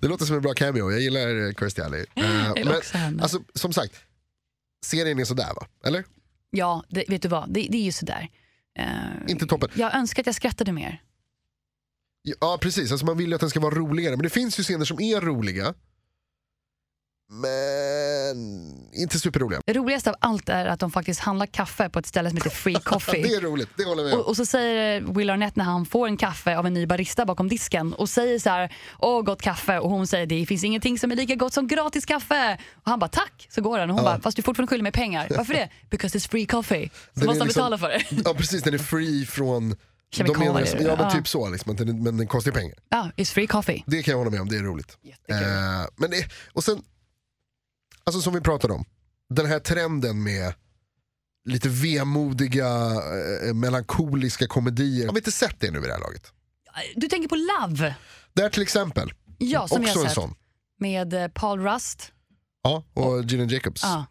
S2: Det låter som en bra cameo, jag gillar eh, Kirstie Alley. Eh,
S1: vill också henne.
S2: alltså, som sagt, serien är sådär va? Eller?
S1: Ja, det, vet du vad? Det, det är ju sådär. Uh,
S2: Inte toppen.
S1: jag önskar att jag skrattade mer.
S2: Ja precis, alltså man vill ju att den ska vara roligare. Men det finns ju scener som är roliga. Men inte superroliga.
S1: Det roligaste av allt är att de faktiskt handlar kaffe på ett ställe som heter
S2: [laughs]
S1: Free Coffee.
S2: Det är roligt, det håller jag med
S1: Och,
S2: om.
S1: och så säger Will Arnett när han får en kaffe av en ny barista bakom disken och säger så här, åh gott kaffe och hon säger det finns ingenting som är lika gott som gratis kaffe. Och han bara tack, så går han och hon bara fast du är fortfarande skyldig mig pengar. Varför det? Because it's free coffee. Så
S2: Den
S1: måste
S2: är
S1: han
S2: liksom-
S1: betala för det.
S2: Ja precis, den är free från...
S1: Kemikalier.
S2: menar- ja men
S1: Ja.
S2: typ så, liksom, att den, men den kostar ju pengar.
S1: Ja, it's free coffee.
S2: Det kan jag hålla med om, det är roligt.
S1: Jättekul.
S2: Eh, men det, och sen, alltså som vi pratade om, den här trenden med lite vemodiga, eh, melankoliska komedier. Har vi inte sett det nu i det här laget?
S1: Eh, Du tänker på Love,
S2: Där till exempel,
S1: ja, som
S2: också
S1: jag har
S2: en
S1: sett,
S2: sån.
S1: med eh, Paul Rust.
S2: Ja, och Gillian Jacobs.
S1: Ja.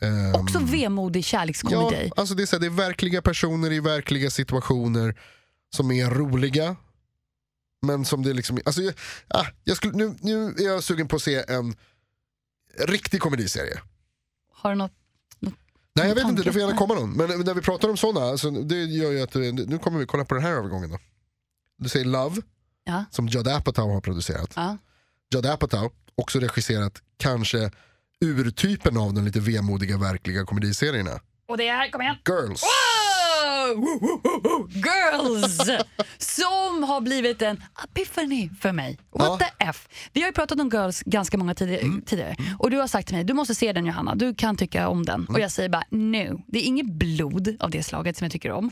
S2: Ehm,
S1: Också vemodig kärlekskomedi.
S2: ja, alltså det, är så här, det är verkliga personer i verkliga situationer som är roliga. Men som det liksom, alltså, jag, ah, jag skulle, nu, nu är jag sugen på att se en riktig komediserie.
S1: Har du något?
S2: Nej jag vet inte,
S1: Tanke?
S2: det får gärna
S1: Nej.
S2: komma någon. Men när vi pratar om sådana, alltså, det gör ju att, nu kommer vi kolla på den här övergången då. Du säger Love,
S1: Ja.
S2: som Judd Apatow har producerat.
S1: Ja.
S2: Judd Apatow, också regisserat kanske urtypen av de lite vemodiga verkliga komediserierna.
S1: Och det är här, kom igen.
S2: Girls.
S1: Wow! Woo, woo, woo, woo. Girls! Som har blivit en epiphany för mig. What
S2: Ja. Mm.
S1: the F? Vi har ju pratat om Girls ganska många tidigare, tidigare. och du har sagt till mig du måste se den Johanna, du kan tycka om den.
S2: Mm.
S1: Och jag säger bara no, det är inget blod av det slaget som jag tycker om.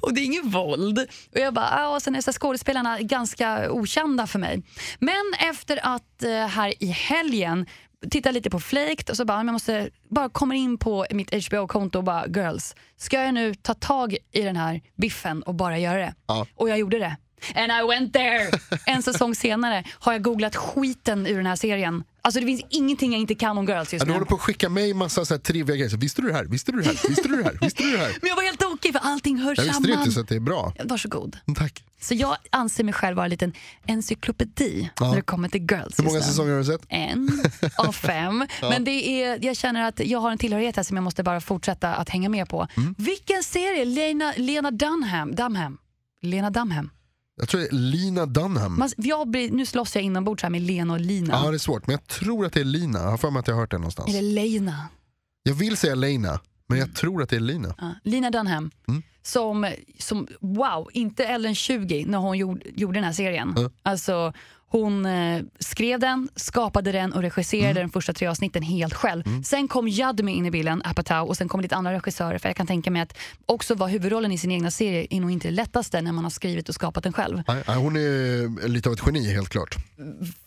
S1: och det är inget våld. Och jag bara, ah, och sen är så här skådespelarna ganska okända för mig. Men efter att eh, här i helgen titta lite på Flaked och så bara, "Ah, men jag måste bara kommer in på mitt HBO-konto och bara girls, ska jag nu ta tag i den här biffen och bara göra det?
S2: Ja.
S1: Och jag gjorde det. And I went
S2: [laughs]
S1: there! En säsong senare har jag googlat skiten ur den här serien. Alltså det finns ingenting jag inte kan om girls
S2: Ja,
S1: just
S2: du
S1: nu.
S2: håller på att skicka mig massa så här trivia grejer. Så, Visste du det här? Visste du det här? Visste du det här? Visste du
S1: [laughs]
S2: det här?
S1: Men jag var helt okej för allting hör
S2: Jag visste det
S1: samman.
S2: inte så att det är bra.
S1: Varsågod.
S2: Tack.
S1: Så jag anser mig själv vara en liten encyklopedi
S2: Ja.
S1: när det kommer till girls.
S2: Hur många
S1: just nu.
S2: säsonger har du sett?
S1: En
S2: [laughs]
S1: av fem. Men det är, jag känner att jag har en tillhörighet här som jag måste bara fortsätta att hänga med på.
S2: Mm.
S1: Vilken serie? Lena, Lena Dunham. Dunham. Lena Dunham.
S2: Jag tror det är Lina Dunham.
S1: Man, jag blir, nu slåss jag inombords här med Lena och Lina.
S2: Ja, det är svårt. Men jag tror att det är Lina. Jag har för mig att jag har hört det någonstans.
S1: Eller Lena.
S2: Jag vill säga Lena, men jag tror att det är Lina.
S1: Ja, Lina Dunham. Som, som, wow, inte Ellen 20 när hon gjorde, gjorde den här serien. Alltså, hon eh, skrev den, skapade den och regisserade den första tre avsnitten helt själv. Sen kom Judd med in i bilden, Apatow, och sen kom lite andra regissörer. För jag kan tänka mig att också vara huvudrollen i sin egna serie är nog inte det lättaste när man har skrivit och skapat den själv.
S2: Nej, nej, Hon är lite av ett geni helt klart.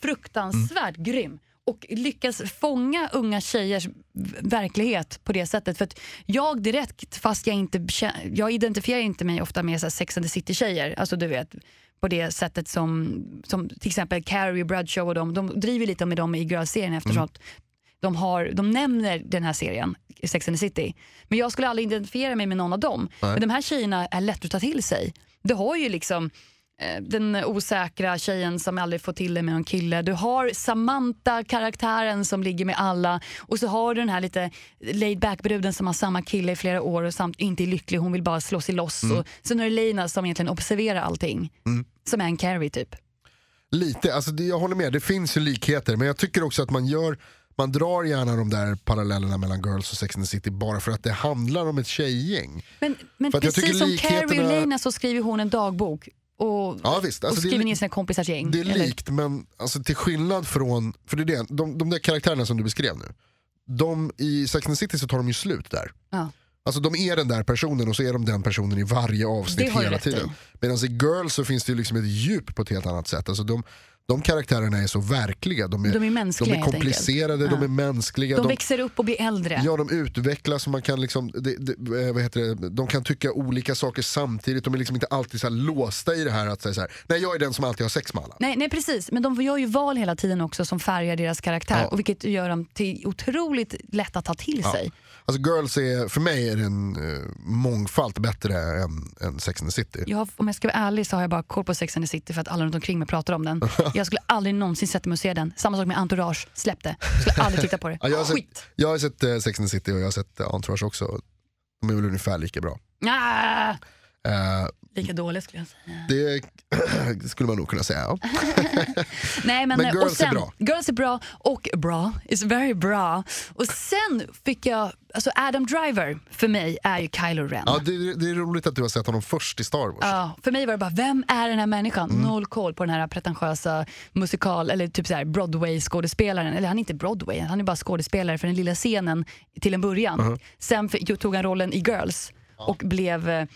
S1: fruktansvärt grym och lyckas fånga unga tjejers v- verklighet på det sättet. För att jag direkt, fast jag inte kä- jag identifierar inte mig ofta med så här Sex and the City-tjejer, alltså du vet på det sättet som, som till exempel Carrie Bradshaw och de, de driver lite med dem i Girls-serien eftersom att de, har, de nämner den här serien, Sex and the City. Men jag skulle aldrig identifiera mig med någon av dem. Men de här tjejerna är lätt att ta till sig. Du har ju liksom eh, den osäkra tjejen som aldrig får till det med en kille. Du har Samantha-karaktären som ligger med alla. Och så har du den här lite laid back-bruden som har samma kille i flera år och samt inte är lycklig, hon vill bara slå sig loss.
S2: Mm.
S1: Och, sen har du Lena som egentligen observerar allting. Som är en Carrie typ.
S2: Lite, alltså det, jag håller med. Det finns ju likheter. Men jag tycker också att man gör man drar gärna de där parallellerna mellan Girls och Sex and the City bara för att det handlar om ett tjejgäng.
S1: Men, men
S2: För att jag
S1: precis
S2: tycker
S1: som Carrie
S2: likheterna-
S1: och Lena så skriver hon en dagbok. Och,
S2: Ja, visst. Alltså,
S1: och
S2: det är
S1: skriver
S2: li-
S1: ner sina kompisars gäng.
S2: Det är
S1: Eller-
S2: likt men alltså, till skillnad från, för det är det, de, de där karaktärerna som du beskrev nu. De I Sex and the City så tar de ju slut där.
S1: Ja.
S2: Alltså de är den där personen och så är de den personen i varje
S1: Det
S2: avsnitt
S1: har du
S2: hela
S1: rätt i.
S2: tiden. Medan i Girls så finns det ju liksom ett djup på ett helt annat sätt. Alltså de, de karaktärerna är så verkliga. De är,
S1: De är mänskliga,
S2: de är
S1: helt enkelt.
S2: komplicerade, de är mänskliga.
S1: De växer upp och blir äldre.
S2: Ja, de utvecklas och man kan liksom, det, det, eh, vad heter det, de kan tycka olika saker samtidigt. De är liksom inte alltid så här låsta i det här att säga så här, nej jag är den som alltid har sex med alla.
S1: Nej, nej precis, men de gör ju val hela tiden också som färgar deras karaktär
S2: Ja.
S1: och vilket gör dem till otroligt lätt att ta till sig.
S2: Alltså Girls är, för mig är den eh, mångfalt bättre än, än Sex and the City.
S1: Jag har, om jag ska vara ärlig så har jag bara koll på Sex and the City för att alla runt omkring mig pratar
S2: [laughs]
S1: om den. Jag skulle aldrig någonsin sätta mig och se den. Samma sak med Entourage, släpp det. Jag skulle aldrig titta på det.
S2: [laughs] Ja, jag, har sett,
S1: Skit!
S2: jag har sett eh, Sex and the City och jag har sett eh, Entourage också. De är väl ungefär lika bra.
S1: Ah,
S2: Eh,
S1: lika dåligt skulle jag säga.
S2: det [clears throat] skulle man nog kunna säga. Ja.
S1: Nej, men,
S2: Men
S1: eh, och
S2: Girls är
S1: sen,
S2: bra.
S1: Girls är bra och bra. It's very bra. Och sen fick jag, alltså Adam Driver för mig är ju Kylo Ren.
S2: Ja, det, det är roligt att du har sett honom först i Star Wars.
S1: Ja, för mig var det bara, vem är den här människan?
S2: Mm.
S1: Noll koll på den här pretentiösa musikal eller typ så här Broadway-skådespelaren. Eller han är inte Broadway, han är bara skådespelare för den lilla scenen till en början.
S2: Mm-hmm.
S1: Sen f- jo, tog han rollen i Girls och blev eh,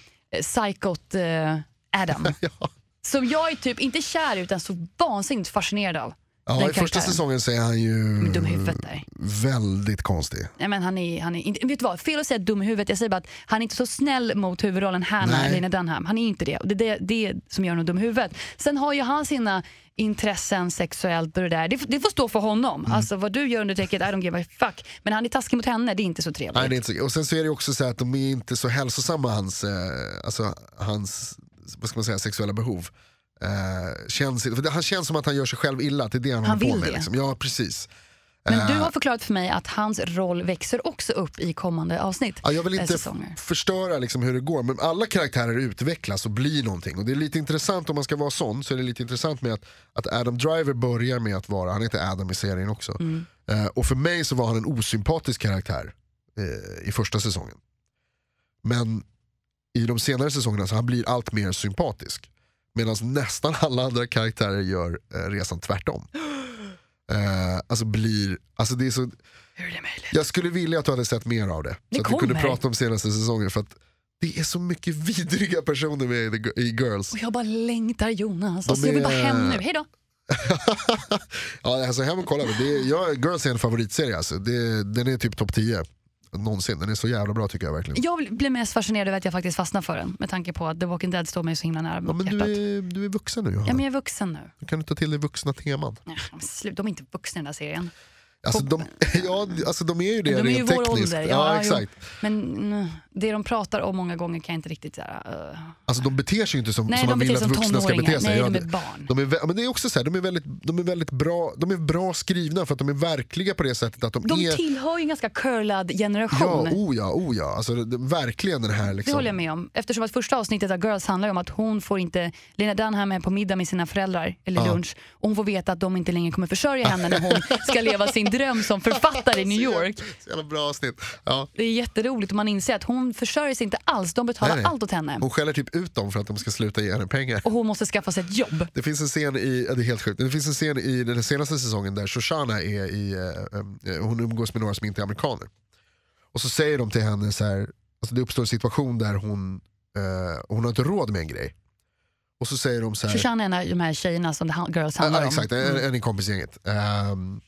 S1: psykot eh, Adam.
S2: [laughs] Ja.
S1: Som jag är typ, inte kär i, utan så vansinnigt fascinerad av. den
S2: Ja, I första
S1: karaktären.
S2: säsongen så är han ju
S1: Dum i huvudet där.
S2: väldigt konstig.
S1: Nej, men han är, han är inte, vet du vad, fel att säga dum i huvudet. Jag säger bara att han är inte så snäll mot huvudrollen Hannah
S2: Nej.
S1: eller Lena Dunham. Han är inte det. Och Det är det, det som gör honom dum i huvudet. Sen har ju han sina intressen sexuellt och det där. Det, får- det får stå för honom.
S2: Mm.
S1: Alltså vad du gör under täcket, I don't give a fuck. Men han är taskig mot henne, det är inte så trevligt.
S2: Nej, det är inte så, och sen så är det också så här att de är inte så hälsosamma, hans, eh, alltså, hans vad ska man säga, sexuella behov. Eh, känns, för det, han känns som att han gör sig själv illa, det är det han, håller på
S1: vill
S2: med.
S1: det.
S2: Liksom. Ja, precis.
S1: Men
S2: Ah.
S1: du har förklarat för mig att hans roll växer också upp i kommande avsnitt.
S2: Ja, jag vill
S1: eh,
S2: inte f-
S1: säsonger.
S2: förstöra liksom hur det går, men alla karaktärer utvecklas och blir någonting. Och det är lite intressant, om man ska vara sån, så är det lite intressant med att, att Adam Driver börjar med att vara, han heter Adam i serien också. Eh, och för mig så var han en osympatisk karaktär eh, i första säsongen. Men i de senare säsongerna så han blir allt mer sympatisk. Medan nästan alla andra karaktärer gör eh, resan tvärtom. Eh, alltså blir, alltså det är så
S1: Hur är det möjligt?
S2: jag skulle vilja att du hade sett mer av det.
S1: Det
S2: så att vi kunde
S1: kommer.
S2: prata om senaste säsongen. För att det är så mycket vidriga personer med i, The- i Girls.
S1: Och jag bara längtar Jonas.
S2: De
S1: Alltså, jag vill bara
S2: är-
S1: hem nu. Hej då.
S2: [laughs] ja, alltså hem och kolla. Det är, jag, Girls är en favoritserie. Alltså. Det, den är typ topp 10 någonsin. Den är så jävla bra tycker jag verkligen.
S1: Jag blir mest fascinerad över att jag faktiskt fastnar för den med tanke på att The Walking Dead står mig så himla nära
S2: Ja, men du,
S1: hjärtat.
S2: är, du är vuxen nu Johanna.
S1: Ja, men jag är vuxen nu.
S2: Du kan du ta till dig vuxna teman.
S1: Nej, men Slut, de är inte vuxna i den här serien.
S2: Alltså, de, [laughs] ja, alltså, de är ju det
S1: De är ju
S2: rent
S1: vår
S2: tekniskt.
S1: ålder.
S2: Ja,
S1: Ja, jo.
S2: exakt.
S1: Men mm, det de pratar om många gånger kan jag inte riktigt... Så här, eh,
S2: Alltså, de beter sig ju inte som,
S1: Nej,
S2: som
S1: de
S2: man
S1: beter
S2: vill
S1: sig
S2: att
S1: som
S2: vuxna ska
S1: tonåringar.
S2: bete sig.
S1: Nej,
S2: Ja,
S1: de är
S2: det-
S1: barn.
S2: De är, vä- men det är också så här, de är väldigt, de är väldigt bra, de är bra skrivna för att de är verkliga på det sättet att de,
S1: de
S2: är...
S1: tillhör ju en ganska curlad generation.
S2: Ja, oh ja, oh ja. Alltså, det, det, verkligen den här
S1: det
S2: liksom.
S1: håller jag med om. Eftersom att första avsnittet av Girls handlar ju om att hon får inte... Lena Dunham är på middag med sina föräldrar, eller lunch, och hon får veta att de inte längre kommer försörja henne när hon ska leva sin dröm som författare i New York.
S2: Så jävla bra avsnitt. Ja.
S1: Det är jätteroligt och man inser att hon försörjer sig inte alls. De betalar
S2: Nej, nej.
S1: allt åt henne.
S2: Hon skäller typ ut dem för att de ska sluta ge henne pengar.
S1: Och hon måste skaffa sig ett jobb.
S2: Det finns en scen i, ja, det är helt sjukt, det finns en scen i den senaste säsongen där Shoshana är i, eh, eh, hon umgås med några som inte är amerikaner. Och så säger de till henne så här, alltså det uppstår en situation där hon, eh, hon har inte råd med en grej. Och så säger de så här,
S1: Shoshana är en av de här tjejerna som The Han- Girls
S2: Ja,
S1: handlar
S2: ja,
S1: om. Mm.
S2: exakt, en, en i kompisgänget. Ehm,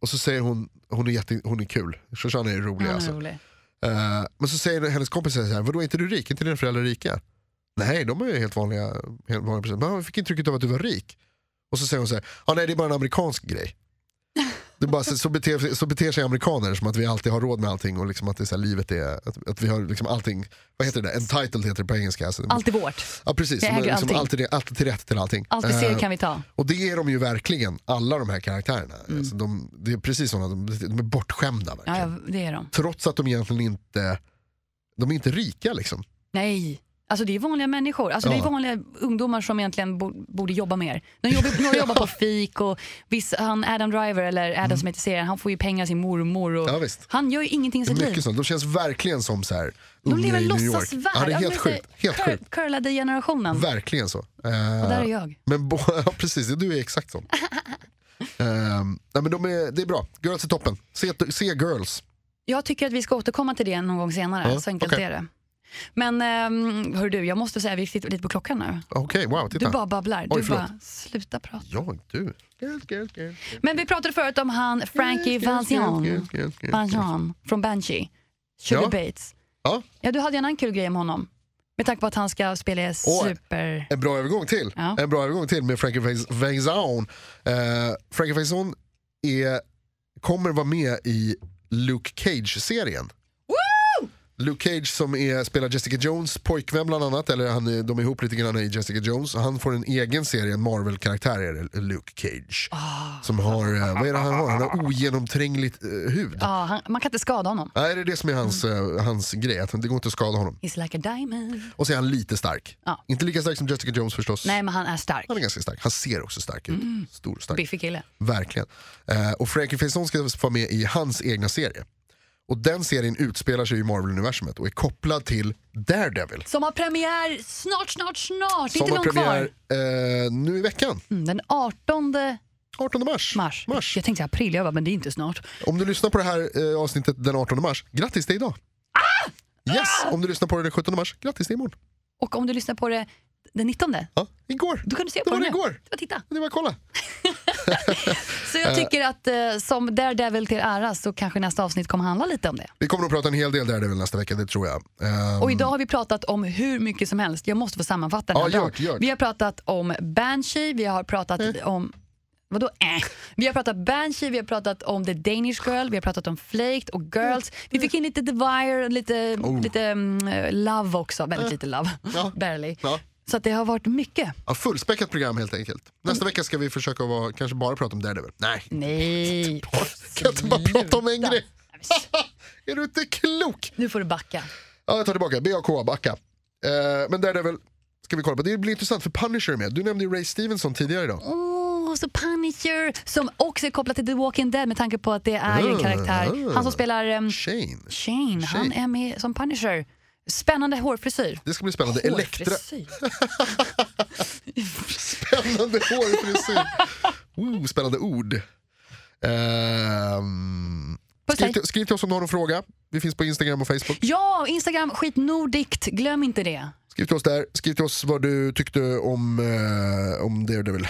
S2: och så säger hon, hon är, jätte, hon är kul, Shoshana är rolig
S1: Ja,
S2: alltså.
S1: vad rolig.
S2: Eh, men så säger hennes kompis så här, vadå är inte du rik? Är inte dina föräldrar rika? Nej, de är ju helt vanliga, helt vanliga personer. Men jag fick intrycket av att du var rik. Och så säger hon så här, ah, nej det är bara en amerikansk grej. Det är bara, så, så, beter, så beter sig amerikaner som att vi alltid har råd med allting och liksom att det är så här, livet är, att, att vi har liksom allting, vad heter det där, entitled heter det på engelska. Alltså,
S1: Allt är vårt.
S2: ja precis,
S1: Jag
S2: som är
S1: äger
S2: liksom
S1: allting.
S2: alltid, det- alltid till rätt till allting.
S1: Allt vi
S2: Eh,
S1: ser kan vi ta.
S2: och det är de ju verkligen, alla de här karaktärerna. Alltså de, det är precis sådana, de, de är bortskämda
S1: Ja,
S2: verkligen.
S1: ja, det är de.
S2: Trots att de egentligen inte, de är inte rika liksom.
S1: Nej. Alltså det är vanliga människor. Alltså Det
S2: Ja.
S1: är vanliga ungdomar som egentligen bo- borde jobba mer. De jobbar, några
S2: [laughs]
S1: jobbar på fik och viss, han Adam Driver, eller Adam som heter serien, han får ju pengar av sin mormor. Och
S2: Mm. Ja, visst.
S1: Han gör ju ingenting i
S2: Det är
S1: sitt liv.
S2: mycket sånt. De känns verkligen som så här,
S1: De
S2: unga
S1: lever
S2: i
S1: en
S2: New York.
S1: låtsasvärld.
S2: Ja, det är
S1: men
S2: helt
S1: så här,
S2: sjukt. Helt
S1: cur-
S2: sjukt.
S1: Curlade generationen.
S2: Verkligen så.
S1: Och där
S2: Eh,
S1: är jag.
S2: men bo- [laughs] ja, precis, du är
S1: [laughs]
S2: exakt sån. Eh, nej, men de är, det är bra, Girls är toppen. Se, se Girls.
S1: Jag tycker att vi ska återkomma till det någon gång senare.
S2: Ja,
S1: så enkelt
S2: okej.
S1: är det. Men um, hör du, jag måste säga, vi sitter lite på klockan nu.
S2: Okej, wow,
S1: Du
S2: titta.
S1: bara babblar.
S2: Oj,
S1: Du
S2: förlåt.
S1: bara, sluta prata.
S2: Ja, du. Girl, girl, girl.
S1: Men vi pratade förut om han Frankie
S2: Yes, yes, yes,
S1: Valjean.
S2: yes, yes, yes.
S1: Valjean från Banshee. Sugar
S2: Ja.
S1: Bates.
S2: Ja,
S1: Ja, du hade ju en annan kul grej om honom. Med tanke på att han ska spela i super...
S2: en bra övergång till.
S1: Ja.
S2: En bra övergång till med Frankie Faison. Eh, Frankie Faison är, kommer vara med i Luke Cage-serien. Luke Cage som är, spelar Jessica Jones pojkvän bland annat, eller han, är- de är ihop lite grann i Jessica Jones. Han får en egen serie, en Marvel-karaktär är det, Luke Cage.
S1: Ah.
S2: Som har, eh, vad är det han har? Han har ogenomträngligt eh, hud.
S1: Ja, han, man kan inte skada honom.
S2: Nej, det är det som är hans,
S1: Mm.
S2: eh, hans grej, att det går inte att skada honom.
S1: He's like a diamond.
S2: Och så är han lite stark.
S1: Ja.
S2: Inte lika stark som Jessica Jones förstås.
S1: Nej, men han är stark.
S2: Han är ganska stark. Han ser också stark ut.
S1: Mm.
S2: Stor och stark.
S1: Biffig kille.
S2: Verkligen. Eh, och Frankie Faison ska vara med i hans egna serie. Och den serien utspelar sig i Marvel-universumet och är kopplad till Daredevil.
S1: Som har premiär snart, snart, snart.
S2: som
S1: inte
S2: har
S1: långt
S2: premiär
S1: kvar.
S2: eh, nu i veckan,
S1: Mm, den 18
S2: 18 mars.
S1: mars. Jag tänkte april, jag bara, men det är inte snart.
S2: Om du lyssnar på det här eh, avsnittet den 18 mars, grattis det är idag.
S1: Ah!
S2: Yes, om du lyssnar på det den 17 mars, grattis det är imorgon.
S1: Och om du lyssnar på det den 19,
S2: Ja, igår.
S1: då kan du se
S2: Det
S1: på
S2: var
S1: det
S2: det igår.
S1: Ja, titta.
S2: Det var kolla.
S1: Så jag tycker att eh, som Daredevil till ära så kanske nästa avsnitt kommer handla lite om det.
S2: Vi kommer att prata en hel del Daredevil nästa vecka, det tror jag. Ehm,
S1: Och idag har vi pratat om hur mycket som helst. Jag måste få sammanfatta den här
S2: Ja, gör
S1: dagen.
S2: det, gör det.
S1: Vi har pratat om Banshee, vi har pratat
S2: Mm.
S1: om Vadå äh? Vi har pratat Banshee, vi har pratat om The Danish Girl, vi har pratat om Flaked och Girls.
S2: Mm.
S1: Vi fick in lite The Wire, lite, lite mm, Love också. Väldigt lite Love.
S2: Oh. Eh. Ja.
S1: Barely.
S2: Ja.
S1: Så att det har varit mycket.
S2: Ja, fullspäckat program helt enkelt. Nästa
S1: Mm.
S2: vecka ska vi försöka vara, kanske bara prata om Daredevil. Nej,
S1: Nej.
S2: kan jag inte bara prata om en
S1: Sluta.
S2: grej? är du inte klok?
S1: Nu får du backa.
S2: Ja, jag tar tillbaka, BAK, backa. Eh, men Daredevil ska vi kolla på. Det blir intressant för Punisher är med. Du nämnde ju Ray Stevenson tidigare idag.
S1: Åh, Oh, så Punisher som också är kopplad till The Walking Dead med tanke på att det är
S2: Ah,
S1: ju en karaktär. Han som spelar ehm,
S2: Shane.
S1: Shane, han
S2: Shane.
S1: är med som Punisher. Spännande hårfrisyr.
S2: Det ska bli spännande. Elektra, [laughs]
S1: Hårfrisyr.
S2: spännande hårfrisyr. Ooh, spännande ord. Ehm,
S1: Puss,
S2: skriv,
S1: hej.
S2: till- skriv till oss om du har någon fråga. Vi finns på Instagram och Facebook.
S1: Ja, Instagram skitnordikt, glöm inte det.
S2: Skriv till oss där. Skriv till oss vad du tyckte om, eh, om Daredevil.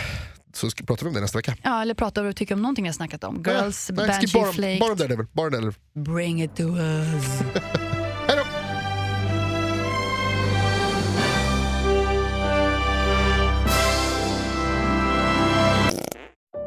S2: Så sk- pratar vi om det nästa vecka.
S1: Ja, eller prata om vad du tycker om någonting jag snackat om. Girls,
S2: Nej, nej, skriv
S1: Banshee,
S2: bara,
S1: Flake,
S2: bara om Daredevil. Bara om Daredevil.
S1: bring it to us.
S2: Hej då!